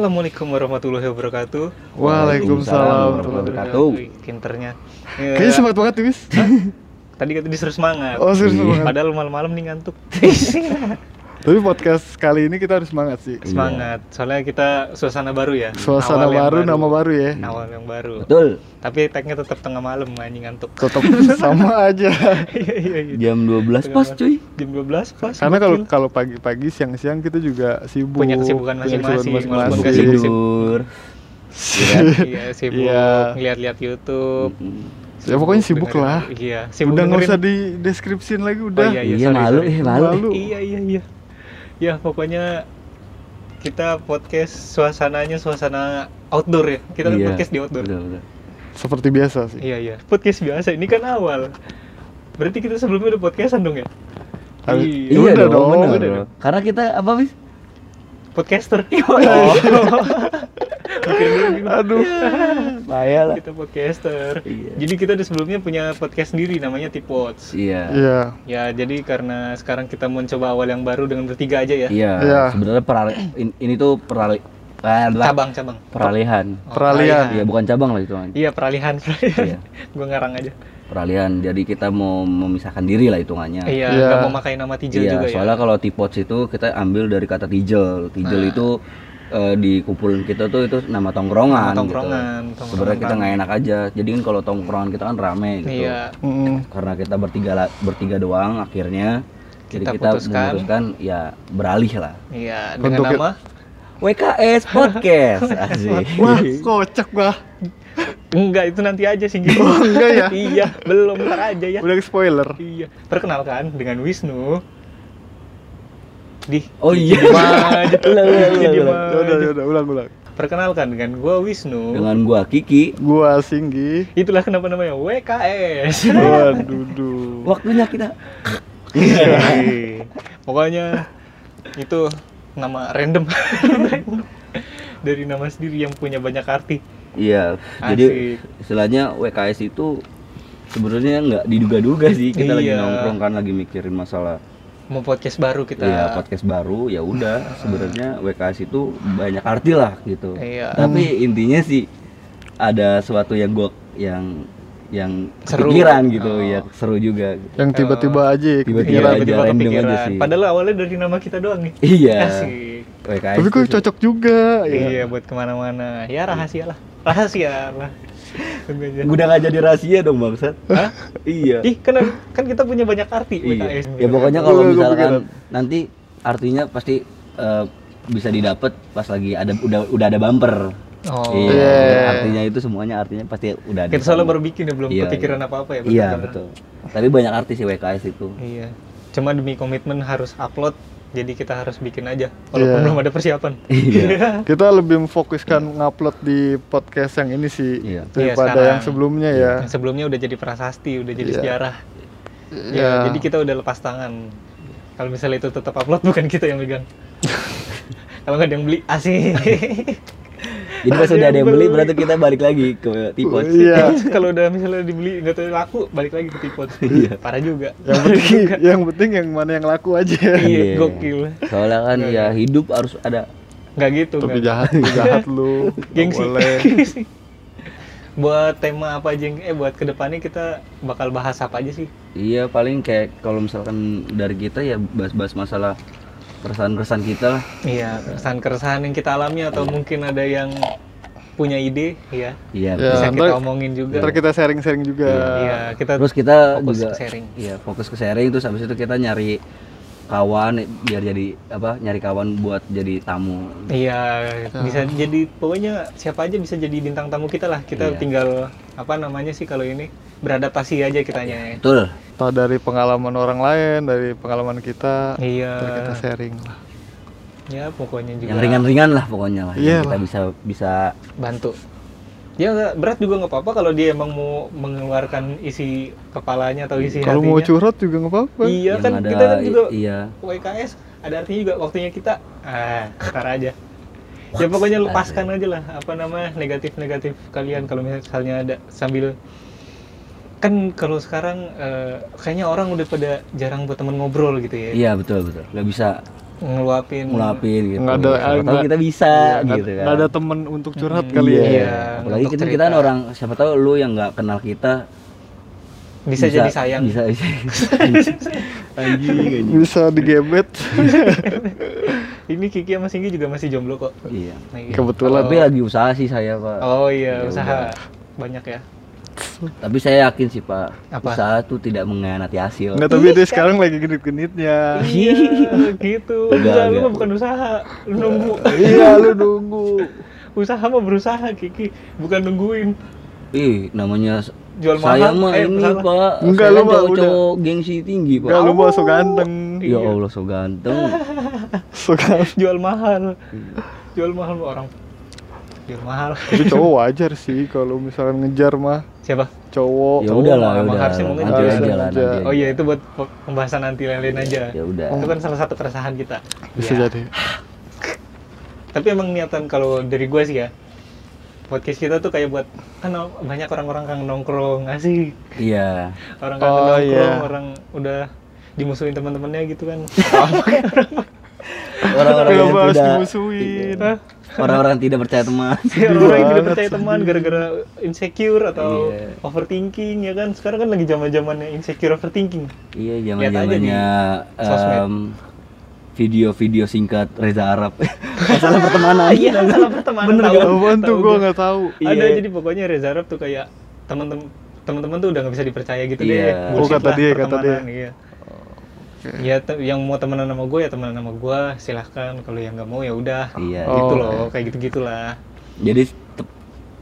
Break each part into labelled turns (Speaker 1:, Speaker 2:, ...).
Speaker 1: Assalamualaikum warahmatullahi wabarakatuh.
Speaker 2: Waalaikumsalam warahmatullahi wabarakatuh.
Speaker 3: Tuh.
Speaker 1: Wih, Kinternya. Ya,
Speaker 2: Kayaknya semangat banget Timis.
Speaker 1: Iya. Tadi kata disuruh semangat.
Speaker 2: Oh, serius
Speaker 3: Iya.
Speaker 2: semangat.
Speaker 1: Padahal malam-malam nih ngantuk. Iya,
Speaker 2: Tapi podcast kali ini kita harus semangat sih.
Speaker 1: semangat. Soalnya kita suasana baru ya.
Speaker 2: Suasana
Speaker 1: Awal yang Nah.
Speaker 2: baru, nama baru ya.
Speaker 1: Awal yang baru.
Speaker 3: Betul.
Speaker 1: Tapi tagnya tetap tengah malam anjing ngantuk.
Speaker 2: Tetap sama aja.
Speaker 1: Iya iya iya.
Speaker 3: Jam 12 pas cuy.
Speaker 1: Jam 12 pas.
Speaker 2: Karena kalau
Speaker 1: gokil.
Speaker 2: kalau pagi-pagi, siang-siang kita juga sibuk.
Speaker 1: Punya kesibukan
Speaker 2: Punya
Speaker 1: masing-masing,
Speaker 2: kesibukan
Speaker 1: walaupun
Speaker 3: Sibuk
Speaker 1: kasih
Speaker 2: masing-masing.
Speaker 1: sibuk.
Speaker 3: tidur.
Speaker 1: iya sibuk
Speaker 2: Iya.
Speaker 1: lihat-lihat YouTube.
Speaker 2: Ya, pokoknya sibuk
Speaker 1: dengerin-
Speaker 2: lah.
Speaker 1: Iya, sibuk
Speaker 2: Udah nggak
Speaker 1: dengerin-
Speaker 2: usah di deskripsiin lagi udah.
Speaker 1: Oh, iya,
Speaker 3: Iya
Speaker 1: sorry,
Speaker 3: malu,
Speaker 1: sorry.
Speaker 3: eh malu.
Speaker 2: Malu.
Speaker 1: Iya iya iya. Ya pokoknya kita podcast suasananya suasana outdoor ya. Kita kan
Speaker 3: Iya.
Speaker 1: podcast di outdoor.
Speaker 3: Betul, betul.
Speaker 2: Seperti biasa sih.
Speaker 1: Iya iya. Podcast biasa. Ini kan awal. Berarti kita sebelumnya udah podcastan dong ya?
Speaker 2: Harus-
Speaker 1: Iya.
Speaker 2: Ya
Speaker 3: Iya
Speaker 2: udah
Speaker 3: dong,
Speaker 2: dong,
Speaker 3: bener
Speaker 2: udah
Speaker 3: dong. Karena kita apa bis?
Speaker 1: Podcaster.
Speaker 3: Oh.
Speaker 1: Oke, dulu gimana?
Speaker 2: Aduh.
Speaker 3: Payah lah.
Speaker 1: kita podcaster.
Speaker 3: Iya.
Speaker 1: Jadi kita udah sebelumnya punya podcast sendiri namanya Tipods.
Speaker 3: Iya.
Speaker 2: Iya.
Speaker 1: Ya, jadi karena sekarang kita mau coba awal yang baru dengan bertiga aja ya.
Speaker 3: Iya.
Speaker 2: Iya.
Speaker 3: Sebenarnya perali- in- ini tuh perali ah, lah.
Speaker 1: Cabang-cabang.
Speaker 3: peralihan.
Speaker 1: Oh,
Speaker 2: Peralihan.
Speaker 3: Iya, bukan cabang lah itu kan.
Speaker 1: Iya peralihan, peralihan.
Speaker 3: Iya.
Speaker 1: Gue ngarang aja.
Speaker 3: Peralihan. Jadi kita mau memisahkan diri lah hitungannya.
Speaker 1: Iya,
Speaker 2: Iya.
Speaker 1: nggak mau pakai nama Tijel
Speaker 3: Iya,
Speaker 1: juga
Speaker 3: soalnya
Speaker 1: ya.
Speaker 3: kalau tipods itu kita ambil dari kata tijel. Tijel
Speaker 1: Nah.
Speaker 3: itu eh, di kumpulan kita tuh itu nama
Speaker 1: Nama
Speaker 3: tongkrongan. gitu.
Speaker 1: tongkrongan, tongkrongan
Speaker 3: Sebenarnya kita
Speaker 1: rame.
Speaker 3: nggak enak aja. Jadi kan kalau tongkrongan kita kan rame gitu.
Speaker 1: Iya,
Speaker 2: Mm-mm.
Speaker 3: Karena kita bertiga la- bertiga doang akhirnya. Jadi
Speaker 1: Kita
Speaker 3: kita,
Speaker 1: putuskan.
Speaker 3: memutuskan ya beralih lah.
Speaker 1: iya dengan
Speaker 2: Bentuknya-
Speaker 1: nama
Speaker 3: WKS Podcast. Asik.
Speaker 2: Wah,
Speaker 1: Iya.
Speaker 2: kocak gua.
Speaker 1: enggak itu nanti aja sih gitu.
Speaker 2: Oh, enggak ya?
Speaker 1: iya, belum ntar aja ya.
Speaker 2: Udah spoiler.
Speaker 1: Iya, perkenalkan dengan Wisnu. Di
Speaker 3: Oh iya.
Speaker 1: aja tuh.
Speaker 3: Ulang, ulang,
Speaker 1: Jadi
Speaker 3: ulang,
Speaker 1: mah.
Speaker 3: ulang.
Speaker 2: Ya udah, ya udah, ulang-ulang.
Speaker 1: Perkenalkan dengan gua Wisnu.
Speaker 3: Dengan gua Kiki.
Speaker 2: Gua Singgi.
Speaker 1: Itulah kenapa namanya WKS.
Speaker 2: Waduh. duh.
Speaker 3: Waktunya kita.
Speaker 1: Iya. Pokoknya itu nama random. Dari nama sendiri yang punya banyak arti.
Speaker 3: Iya. Jadi
Speaker 1: Asik.
Speaker 3: istilahnya WKS itu sebenarnya nggak diduga-duga sih kita lagi
Speaker 1: Iya.
Speaker 3: nongkrong kan lagi mikirin masalah
Speaker 1: Mau podcast baru kita.
Speaker 3: ya podcast baru ya udah sebenarnya WKS itu banyak arti lah gitu
Speaker 1: Iya.
Speaker 3: tapi
Speaker 2: Hmm.
Speaker 3: intinya sih ada sesuatu yang gua yang yang
Speaker 1: Seru.
Speaker 3: kepikiran gitu
Speaker 1: Oh.
Speaker 3: ya seru juga
Speaker 2: Yang tiba-tiba aja ya
Speaker 1: Iya,
Speaker 3: Tiba-tiba
Speaker 2: kepikiran.
Speaker 3: aja,
Speaker 1: Eh, tiba-tiba
Speaker 3: random
Speaker 1: kepikiran.
Speaker 3: aja sih.
Speaker 1: Padahal awalnya dari nama kita doang nih.
Speaker 3: iya
Speaker 1: Asik.
Speaker 3: WKS
Speaker 2: Tapi
Speaker 3: tuh
Speaker 2: kok cocok juga. ya.
Speaker 1: Iya, buat kemana-mana. Ya rahasia lah. Rahasia lah. Tunggu aja.
Speaker 3: udah nggak jadi rahasia dong bangsat
Speaker 1: Hah?
Speaker 3: iya
Speaker 1: Ih, kan, kan kita punya banyak arti
Speaker 3: Iya.
Speaker 1: WKS.
Speaker 3: Ya pokoknya
Speaker 2: Gua-
Speaker 3: kalau
Speaker 2: gua
Speaker 3: misalkan
Speaker 2: kepikiran.
Speaker 3: nanti artinya pasti eh, bisa didapat pas lagi ada udah udah ada bumper.
Speaker 1: Oh.
Speaker 3: Iya.
Speaker 2: Iya.
Speaker 3: Artinya itu semuanya artinya pasti udah ada.
Speaker 1: Kita soalnya baru bikin ya, belum
Speaker 3: Iya,
Speaker 1: kepikiran apa-apa ya.
Speaker 3: Iya,
Speaker 1: bener-bener.
Speaker 3: betul. Tapi banyak arti sih WKS itu.
Speaker 1: Iya. Cuma demi komitmen harus upload, jadi kita harus bikin aja. Walaupun
Speaker 2: Iya.
Speaker 1: belum ada persiapan.
Speaker 3: Iya.
Speaker 2: Kita lebih memfokuskan ngupload di podcast yang ini sih
Speaker 1: Iya,
Speaker 3: Iya.
Speaker 2: daripada
Speaker 1: sekarang.
Speaker 2: yang sebelumnya ya.
Speaker 1: Yang sebelumnya udah jadi prasasti, udah jadi
Speaker 2: Iya.
Speaker 1: sejarah. Ya,
Speaker 2: Iya.
Speaker 1: Jadi kita udah lepas tangan. Kalau misalnya itu tetap upload, bukan kita yang megang. Kalau nggak ada yang beli, asik.
Speaker 3: Jadi pas
Speaker 1: Ada
Speaker 3: udah
Speaker 1: yang
Speaker 3: ada yang beli
Speaker 1: beli. Oh,
Speaker 3: berarti kita balik lagi ke tipe.
Speaker 2: Iya.
Speaker 1: Kalau udah misalnya dibeli nggak tahu laku, balik lagi ke tipot.
Speaker 2: Iya.
Speaker 1: Parah juga.
Speaker 2: Yang penting yang penting yang mana yang laku aja.
Speaker 1: Iya, gokil.
Speaker 3: Soalnya kan
Speaker 1: Iya,
Speaker 3: ya hidup harus ada
Speaker 1: Nggak gitu.
Speaker 2: Tapi
Speaker 1: nggak.
Speaker 2: jahat, tapi jahat lu. Nggak
Speaker 1: Gengsi.
Speaker 2: boleh.
Speaker 1: Gengsi. buat tema apa aja yang eh buat kedepannya kita bakal bahas apa aja sih?
Speaker 3: Iya paling kayak kalau misalkan dari kita ya bahas-bahas masalah keresahan-keresahan kita lah.
Speaker 1: Iya, keresahan-keresahan yang kita alami atau mungkin ada yang punya ide, ya.
Speaker 2: Iya.
Speaker 3: Iya.
Speaker 1: Bisa
Speaker 2: ntar-
Speaker 1: kita omongin juga.
Speaker 2: Ntar kita sharing-sharing juga.
Speaker 1: Iya, kita
Speaker 3: terus kita
Speaker 1: fokus
Speaker 3: juga
Speaker 1: ke sharing.
Speaker 3: Iya, fokus ke sharing terus habis itu kita nyari kawan biar jadi apa? Nyari kawan buat jadi tamu.
Speaker 1: Iya, bisa jadi pokoknya siapa aja bisa jadi bintang tamu kita lah. Kita
Speaker 3: Iya.
Speaker 1: tinggal apa namanya sih kalau ini beradaptasi aja kitanya.
Speaker 3: Betul.
Speaker 2: Entah dari pengalaman orang lain, dari pengalaman kita,
Speaker 1: Iya.
Speaker 2: ntar kita sharing lah.
Speaker 1: Ya, pokoknya juga
Speaker 3: Yang ringan-ringan lah pokoknya lah.
Speaker 2: Iya
Speaker 3: Yang kita
Speaker 2: lah.
Speaker 3: bisa bisa
Speaker 1: bantu. Ya nggak berat juga nggak apa-apa kalau dia emang mau mengeluarkan isi kepalanya atau isi
Speaker 2: Kalau mau
Speaker 1: hatinya.
Speaker 2: curhat juga nggak apa-apa.
Speaker 1: Iya
Speaker 3: yang
Speaker 1: kan
Speaker 3: ada
Speaker 1: kita kan juga
Speaker 3: i- iya.
Speaker 1: WKS ada artinya juga waktunya kita ah ntar aja ya pokoknya lepaskan aja lah apa namanya negatif negatif kalian kalau misalnya ada sambil kan kalau sekarang eh, kayaknya orang udah pada jarang buat teman ngobrol gitu ya
Speaker 3: Iya, betul betul. Gak bisa
Speaker 1: ngeluapin
Speaker 3: ngulapin gitu.
Speaker 2: Nggak ada-
Speaker 3: Siapa tahu
Speaker 2: nggak- iya,
Speaker 3: kita bisa
Speaker 2: nggak
Speaker 3: gitu kan.
Speaker 2: nggak ada temen untuk curhat
Speaker 1: Hmm,
Speaker 2: kali ya.
Speaker 1: iya.
Speaker 3: Apalagi
Speaker 1: untuk
Speaker 3: kita,
Speaker 1: cerita.
Speaker 3: kita kan orang siapa tahu lu yang nggak kenal kita
Speaker 1: bisa, jadi sayang
Speaker 3: Bisa anjing anjing.
Speaker 2: Bisa digebet.
Speaker 1: Iya. ini Kiki sama Singgi juga masih jomblo kok
Speaker 3: Iya.
Speaker 1: Lagi.
Speaker 2: Kebetulan.
Speaker 3: Tapi lagi usaha sih saya, Pak.
Speaker 1: oh iya
Speaker 3: Ya
Speaker 1: usaha banyak ya
Speaker 3: Tapi saya yakin sih, Pak,
Speaker 1: Apa?
Speaker 3: usaha tuh tidak mengkhianati
Speaker 1: Gitu.
Speaker 3: hasil.
Speaker 2: Nggak tapi dia sekarang lagi genit-genitnya.
Speaker 1: iya gitu
Speaker 3: Enggak,
Speaker 1: usaha lu
Speaker 3: enggak.
Speaker 1: mah bukan usaha lu nunggu
Speaker 2: iya lu nunggu.
Speaker 1: usaha mah berusaha Kiki bukan nungguin
Speaker 3: Ih, namanya
Speaker 1: Jual
Speaker 3: saya
Speaker 1: mahal,
Speaker 3: mah
Speaker 1: eh,
Speaker 3: ini,
Speaker 1: salah.
Speaker 3: Pak.
Speaker 2: Enggak,
Speaker 3: saya
Speaker 2: lu mah
Speaker 3: cowok-cowok gengsi tinggi, Pak.
Speaker 2: Enggak lu Iya. mau so ganteng.
Speaker 3: Ya
Speaker 1: Iya.
Speaker 3: Allah, so ganteng.
Speaker 2: So ganteng.
Speaker 1: jual mahal jual mahal orang jual mahal
Speaker 2: Tapi cowok wajar sih kalau misalkan ngejar mah
Speaker 1: siapa
Speaker 2: cowok.
Speaker 3: ya
Speaker 1: cowok
Speaker 3: udahlah, ya
Speaker 1: emang
Speaker 3: udah.
Speaker 1: harusnya mungkin
Speaker 3: Nanti
Speaker 1: harus
Speaker 3: aja lah,
Speaker 2: aja.
Speaker 3: nanti. aja.
Speaker 1: oh iya itu buat pembahasan nanti lain-lain aja
Speaker 3: Ya udah.
Speaker 1: itu kan salah satu keresahan kita
Speaker 2: Bisa
Speaker 1: Iya.
Speaker 2: jadi.
Speaker 1: tapi emang niatan kalau dari gue sih ya podcast kita tuh kayak buat kan no- banyak orang-orang kan nongkrong asik
Speaker 3: Iya.
Speaker 1: orang kan
Speaker 2: Oh,
Speaker 1: nongkrong
Speaker 2: iya.
Speaker 1: orang udah dimusuhin teman-temannya gitu kan
Speaker 3: Orang-orang
Speaker 2: Kenapa
Speaker 3: yang
Speaker 2: harus
Speaker 3: tidak Iya.
Speaker 2: dimusuhin?
Speaker 1: Hah?
Speaker 3: orang-orang yang tidak percaya teman.
Speaker 1: orang yang tidak
Speaker 2: banget
Speaker 1: percaya teman gara-gara insecure atau
Speaker 3: Iya.
Speaker 1: overthinking ya kan sekarang kan lagi zaman zamannya insecure overthinking
Speaker 3: Iya,
Speaker 1: Lihat aja di
Speaker 3: zaman-zamannya
Speaker 1: sosmed.
Speaker 3: em, video-video singkat Reza Arab. Masalah pertemanan.
Speaker 1: iya salah pertemanan
Speaker 3: Bener
Speaker 1: tahu.
Speaker 3: kan?
Speaker 2: Apaan tuh
Speaker 1: Tahu
Speaker 2: gua
Speaker 1: gua.
Speaker 2: nggak tahu.
Speaker 1: ada
Speaker 3: Iya.
Speaker 1: jadi pokoknya Reza Arab tuh kayak teman-teman teman-teman tuh udah nggak bisa dipercaya gitu
Speaker 3: Iya.
Speaker 1: deh
Speaker 2: Oh,
Speaker 1: Bullshit
Speaker 2: kata
Speaker 1: lah
Speaker 2: dia, kata
Speaker 1: pertemanan, iya. ya te- yang mau temenan sama gue ya temenan sama gue silahkan kalau yang nggak mau ya udah
Speaker 3: Iya.
Speaker 1: gitu
Speaker 2: Oh,
Speaker 1: loh
Speaker 2: iya.
Speaker 1: kayak gitu gitulah
Speaker 3: Jadi te-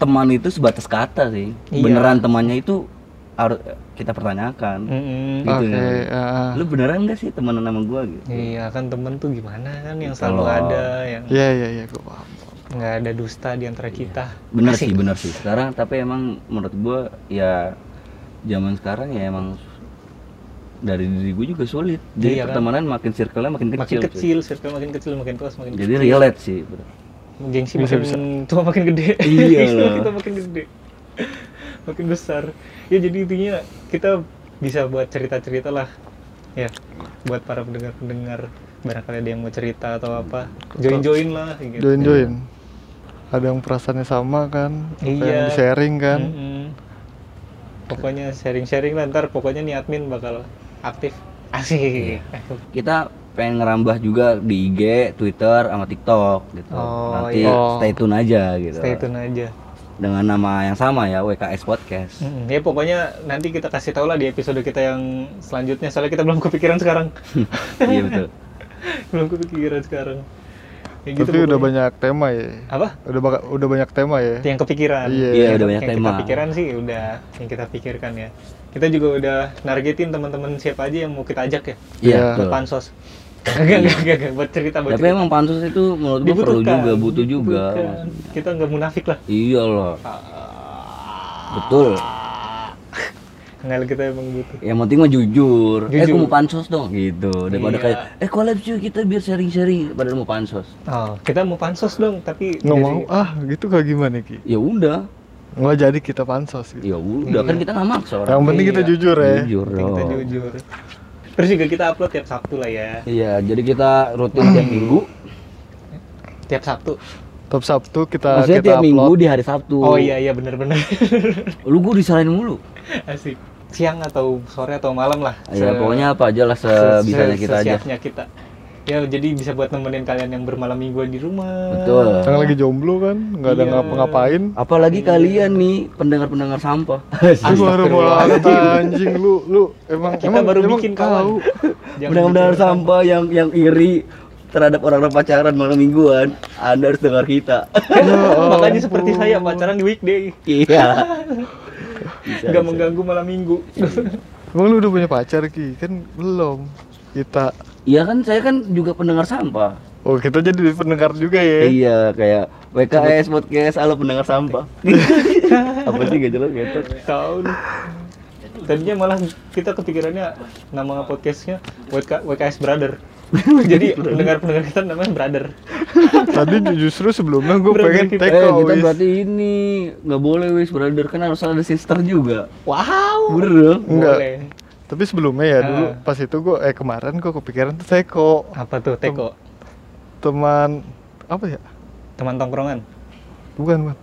Speaker 3: teman itu sebatas kata sih.
Speaker 1: Iya.
Speaker 3: Beneran temannya itu harus kita pertanyakan.
Speaker 1: Mm-mm.
Speaker 3: Gitu
Speaker 2: Oke,
Speaker 3: kan.
Speaker 2: ah.
Speaker 3: Lu beneran gak sih temenan sama gua gitu?
Speaker 1: iya kan temen tuh gimana kan yang selalu
Speaker 3: Kalau-
Speaker 1: ada yang
Speaker 2: Iya iya iya gua paham.
Speaker 1: nggak ada dusta di antara kita
Speaker 3: Iya. Bener
Speaker 1: Asik.
Speaker 3: sih, bener sih. Sekarang tapi emang menurut gua ya zaman sekarang ya emang dari diri gua juga sulit. Jadi
Speaker 1: Iya kan?
Speaker 3: pertemanan makin circle-nya makin kecil.
Speaker 1: makin
Speaker 3: cuy.
Speaker 1: kecil, circle makin kecil makin kelas makin
Speaker 3: Jadi relate sih. bro.
Speaker 1: gengsi
Speaker 2: Bisa,
Speaker 1: makin tua makin gede
Speaker 3: Iya
Speaker 1: Gengsi
Speaker 3: lah.
Speaker 1: kita makin gede makin besar ya jadi intinya kita bisa buat cerita cerita lah ya buat para pendengar pendengar barangkali ada yang mau cerita atau apa join join lah gitu.
Speaker 2: Join join. Ada yang perasaannya sama kan? Apa yang
Speaker 1: Iya.
Speaker 2: di sharing kan?
Speaker 1: Mm-mm. pokoknya sharing sharing lah ntar pokoknya nih admin bakal aktif asik
Speaker 2: Iya.
Speaker 3: Kita pengen ngerambah juga di IG, Twitter, sama TikTok gitu.
Speaker 1: Oh,
Speaker 3: Nanti
Speaker 2: iya.
Speaker 3: stay tune aja gitu.
Speaker 1: stay tune aja
Speaker 3: Dengan nama yang sama ya, WKS Podcast.
Speaker 1: Mm, ya pokoknya nanti kita kasih tau lah di episode kita yang selanjutnya soalnya kita belum kepikiran sekarang
Speaker 3: iya betul.
Speaker 1: belum kepikiran sekarang ya gitu
Speaker 2: Tapi udah
Speaker 1: pokoknya.
Speaker 2: banyak tema ya.
Speaker 1: apa
Speaker 2: Udah baka- udah banyak tema ya.
Speaker 1: yang kepikiran
Speaker 2: Iya.
Speaker 3: Iya,
Speaker 1: Yang-
Speaker 3: udah banyak
Speaker 1: yang
Speaker 3: tema.
Speaker 1: kita pikiran sih udah yang kita pikirkan ya kita juga udah nargetin teman-teman siapa aja yang mau kita ajak ya
Speaker 3: Iya.
Speaker 2: Iya.
Speaker 1: ke
Speaker 3: betul.
Speaker 1: pansos Gak, gak, gak, gak, buat cerita, buat
Speaker 3: Tapi
Speaker 1: cerita.
Speaker 3: emang pansus itu menurut gua perlu juga, butuh juga.
Speaker 1: Butuhkan. Kita nggak munafik lah.
Speaker 3: Iya loh. Betul.
Speaker 1: Nggak, kita emang butuh.
Speaker 3: Yang penting mah jujur. Eh,
Speaker 1: Jujur.
Speaker 3: aku mau pansos dong gitu. Daripada
Speaker 1: Iya.
Speaker 3: kayak eh collab yuk kita biar sharing-sharing padahal mau pansos.
Speaker 1: Oh, kita mau pansos dong, tapi
Speaker 2: Nggak
Speaker 1: dari-
Speaker 2: mau ah gitu kayak gimana Ki?
Speaker 3: Ya udah,
Speaker 2: Nggak jadi kita pansos gitu.
Speaker 3: ya udah kan kita nggak maksa orang.
Speaker 2: Yang penting kita
Speaker 1: Iya.
Speaker 2: jujur ya.
Speaker 3: Jujur
Speaker 1: Penting Hmm. kita
Speaker 3: dong.
Speaker 1: jujur. Terus juga kita upload tiap Sabtu lah ya.
Speaker 3: Iya, jadi kita rutin tiap
Speaker 1: Hmm.
Speaker 3: minggu.
Speaker 1: Tiap Sabtu.
Speaker 2: Top Sabtu kita
Speaker 3: Maksudnya
Speaker 2: kita
Speaker 3: tiap minggu
Speaker 2: upload.
Speaker 3: di hari Sabtu.
Speaker 1: Eh, Oh iya iya benar-benar.
Speaker 3: Lu gua disalahin mulu.
Speaker 1: Asik. Siang atau sore atau malam lah.
Speaker 3: Ya
Speaker 2: Iya,
Speaker 1: Se-
Speaker 3: pokoknya apa aja lah
Speaker 1: se-
Speaker 3: sebisanya
Speaker 1: se-
Speaker 3: kita aja.
Speaker 1: sesiapnya kita. Ya jadi bisa buat nemenin kalian yang bermalam mingguan di rumah.
Speaker 3: Betul.
Speaker 2: Yang lagi jomblo kan, nggak ada
Speaker 1: Iya.
Speaker 2: ngapa-ngapain.
Speaker 3: Apalagi kalian nih pendengar-pendengar sampah.
Speaker 2: Astagfirullahaladzim anjing lu lu emang
Speaker 1: Ah, Kita
Speaker 2: emang
Speaker 1: baru
Speaker 2: emang
Speaker 1: bikin kawan.
Speaker 2: tahu.
Speaker 1: Jangan gitu.
Speaker 3: Benar-benar
Speaker 1: bikin orang-
Speaker 3: sampah yang yang iri terhadap orang-orang pacaran malam mingguan, Anda harus dengar kita.
Speaker 1: Makanya seperti
Speaker 2: Oh.
Speaker 1: saya pacaran di weekday.
Speaker 3: Iya.
Speaker 1: Nggak mengganggu malam minggu.
Speaker 2: Iya. Emang lu udah punya pacar Ki? Kan belum. Kita
Speaker 3: Iya kan saya kan juga pendengar sampah.
Speaker 2: Oh, kita jadi pendengar juga ya.
Speaker 3: Iya kayak WKS podcast halo pendengar sampah. Apa sih gak jelas gitu.
Speaker 1: Tahun. Tadinya malah kita kepikirannya nama podcastnya WK, WKS Brother. Jadi pendengar-pendengar kita namanya Brother.
Speaker 2: Tadi ju- justru sebelumnya gue
Speaker 1: Berarti
Speaker 2: pengen
Speaker 1: kita-
Speaker 2: take
Speaker 3: eh kita
Speaker 2: away.
Speaker 3: berarti ini nggak boleh wis brother kan harus ada sister juga.
Speaker 1: Wow.
Speaker 3: Bro.
Speaker 2: Enggak.
Speaker 1: Boleh.
Speaker 2: Tapi sebelumnya ya dulu
Speaker 1: Ah.
Speaker 2: pas itu gue eh kemarin gue kepikiran tuh teko.
Speaker 1: Apa tuh Teko?
Speaker 2: teman apa ya?
Speaker 1: teman tongkrongan
Speaker 2: Bukan, Mat.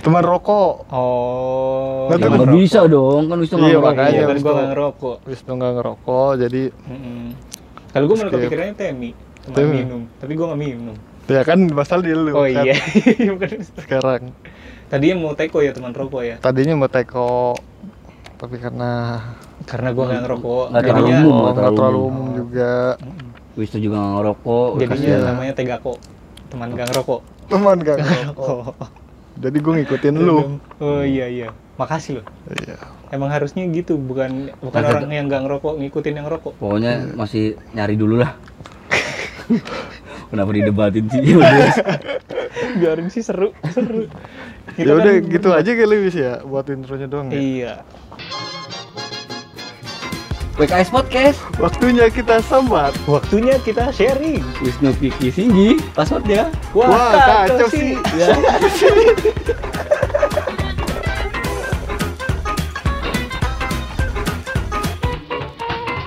Speaker 2: Teman rokok.
Speaker 1: oh
Speaker 2: Nggak
Speaker 3: Ya
Speaker 1: iya.
Speaker 2: tahu.
Speaker 3: nggak bisa dong, kan Wisnu nggak
Speaker 2: Iya,
Speaker 3: ngerokok.
Speaker 2: makanya.
Speaker 1: Iya, kan
Speaker 2: abis
Speaker 1: gue
Speaker 2: itu-
Speaker 1: nggak ngerokok
Speaker 2: Wisnu nggak ngerokok, jadi
Speaker 1: Mm-mm. kalau gue malah
Speaker 2: Skip.
Speaker 1: kepikirannya temi teman
Speaker 2: Temi.
Speaker 1: minum tapi gue nggak minum
Speaker 2: ya kan masalah di lu.
Speaker 1: oh
Speaker 2: kan,
Speaker 1: iya Bukan.
Speaker 2: Sekarang
Speaker 1: tadinya mau teko ya teman rokok ya
Speaker 2: tadinya mau teko tapi karena
Speaker 1: karena gue nggak ngerokok
Speaker 3: Nggak terlalu
Speaker 1: jadinya
Speaker 3: umum,
Speaker 2: oh,
Speaker 3: nggak
Speaker 2: nggak terlalu
Speaker 3: terlalu
Speaker 2: umum juga
Speaker 3: Iya. Wisnu juga nggak ngerokok.
Speaker 1: jadinya
Speaker 2: Iya.
Speaker 1: namanya tegako teman gak ngerokok
Speaker 2: teman gak ngerokok.
Speaker 1: oh,
Speaker 2: jadi gue ngikutin lu
Speaker 1: oh iya iya makasih loh
Speaker 2: iya
Speaker 1: emang harusnya gitu bukan bukan
Speaker 3: Ada-
Speaker 1: orang yang gak ngerokok ngikutin yang rokok
Speaker 3: Pokoknya masih nyari dulu lah. Kenapa didebatin sih? Udah.
Speaker 1: biarin sih seru seru Kita
Speaker 2: ya udah
Speaker 1: kan-
Speaker 2: gitu aja kali wis ya buat intronya doang ya.
Speaker 1: iya
Speaker 3: WKS Podcast.
Speaker 2: waktunya kita sambat
Speaker 1: waktunya kita sharing
Speaker 3: Wisnu Vicky Singgi. Passwordnya.
Speaker 1: wah,
Speaker 2: Wah, kacau sih.
Speaker 1: Ya.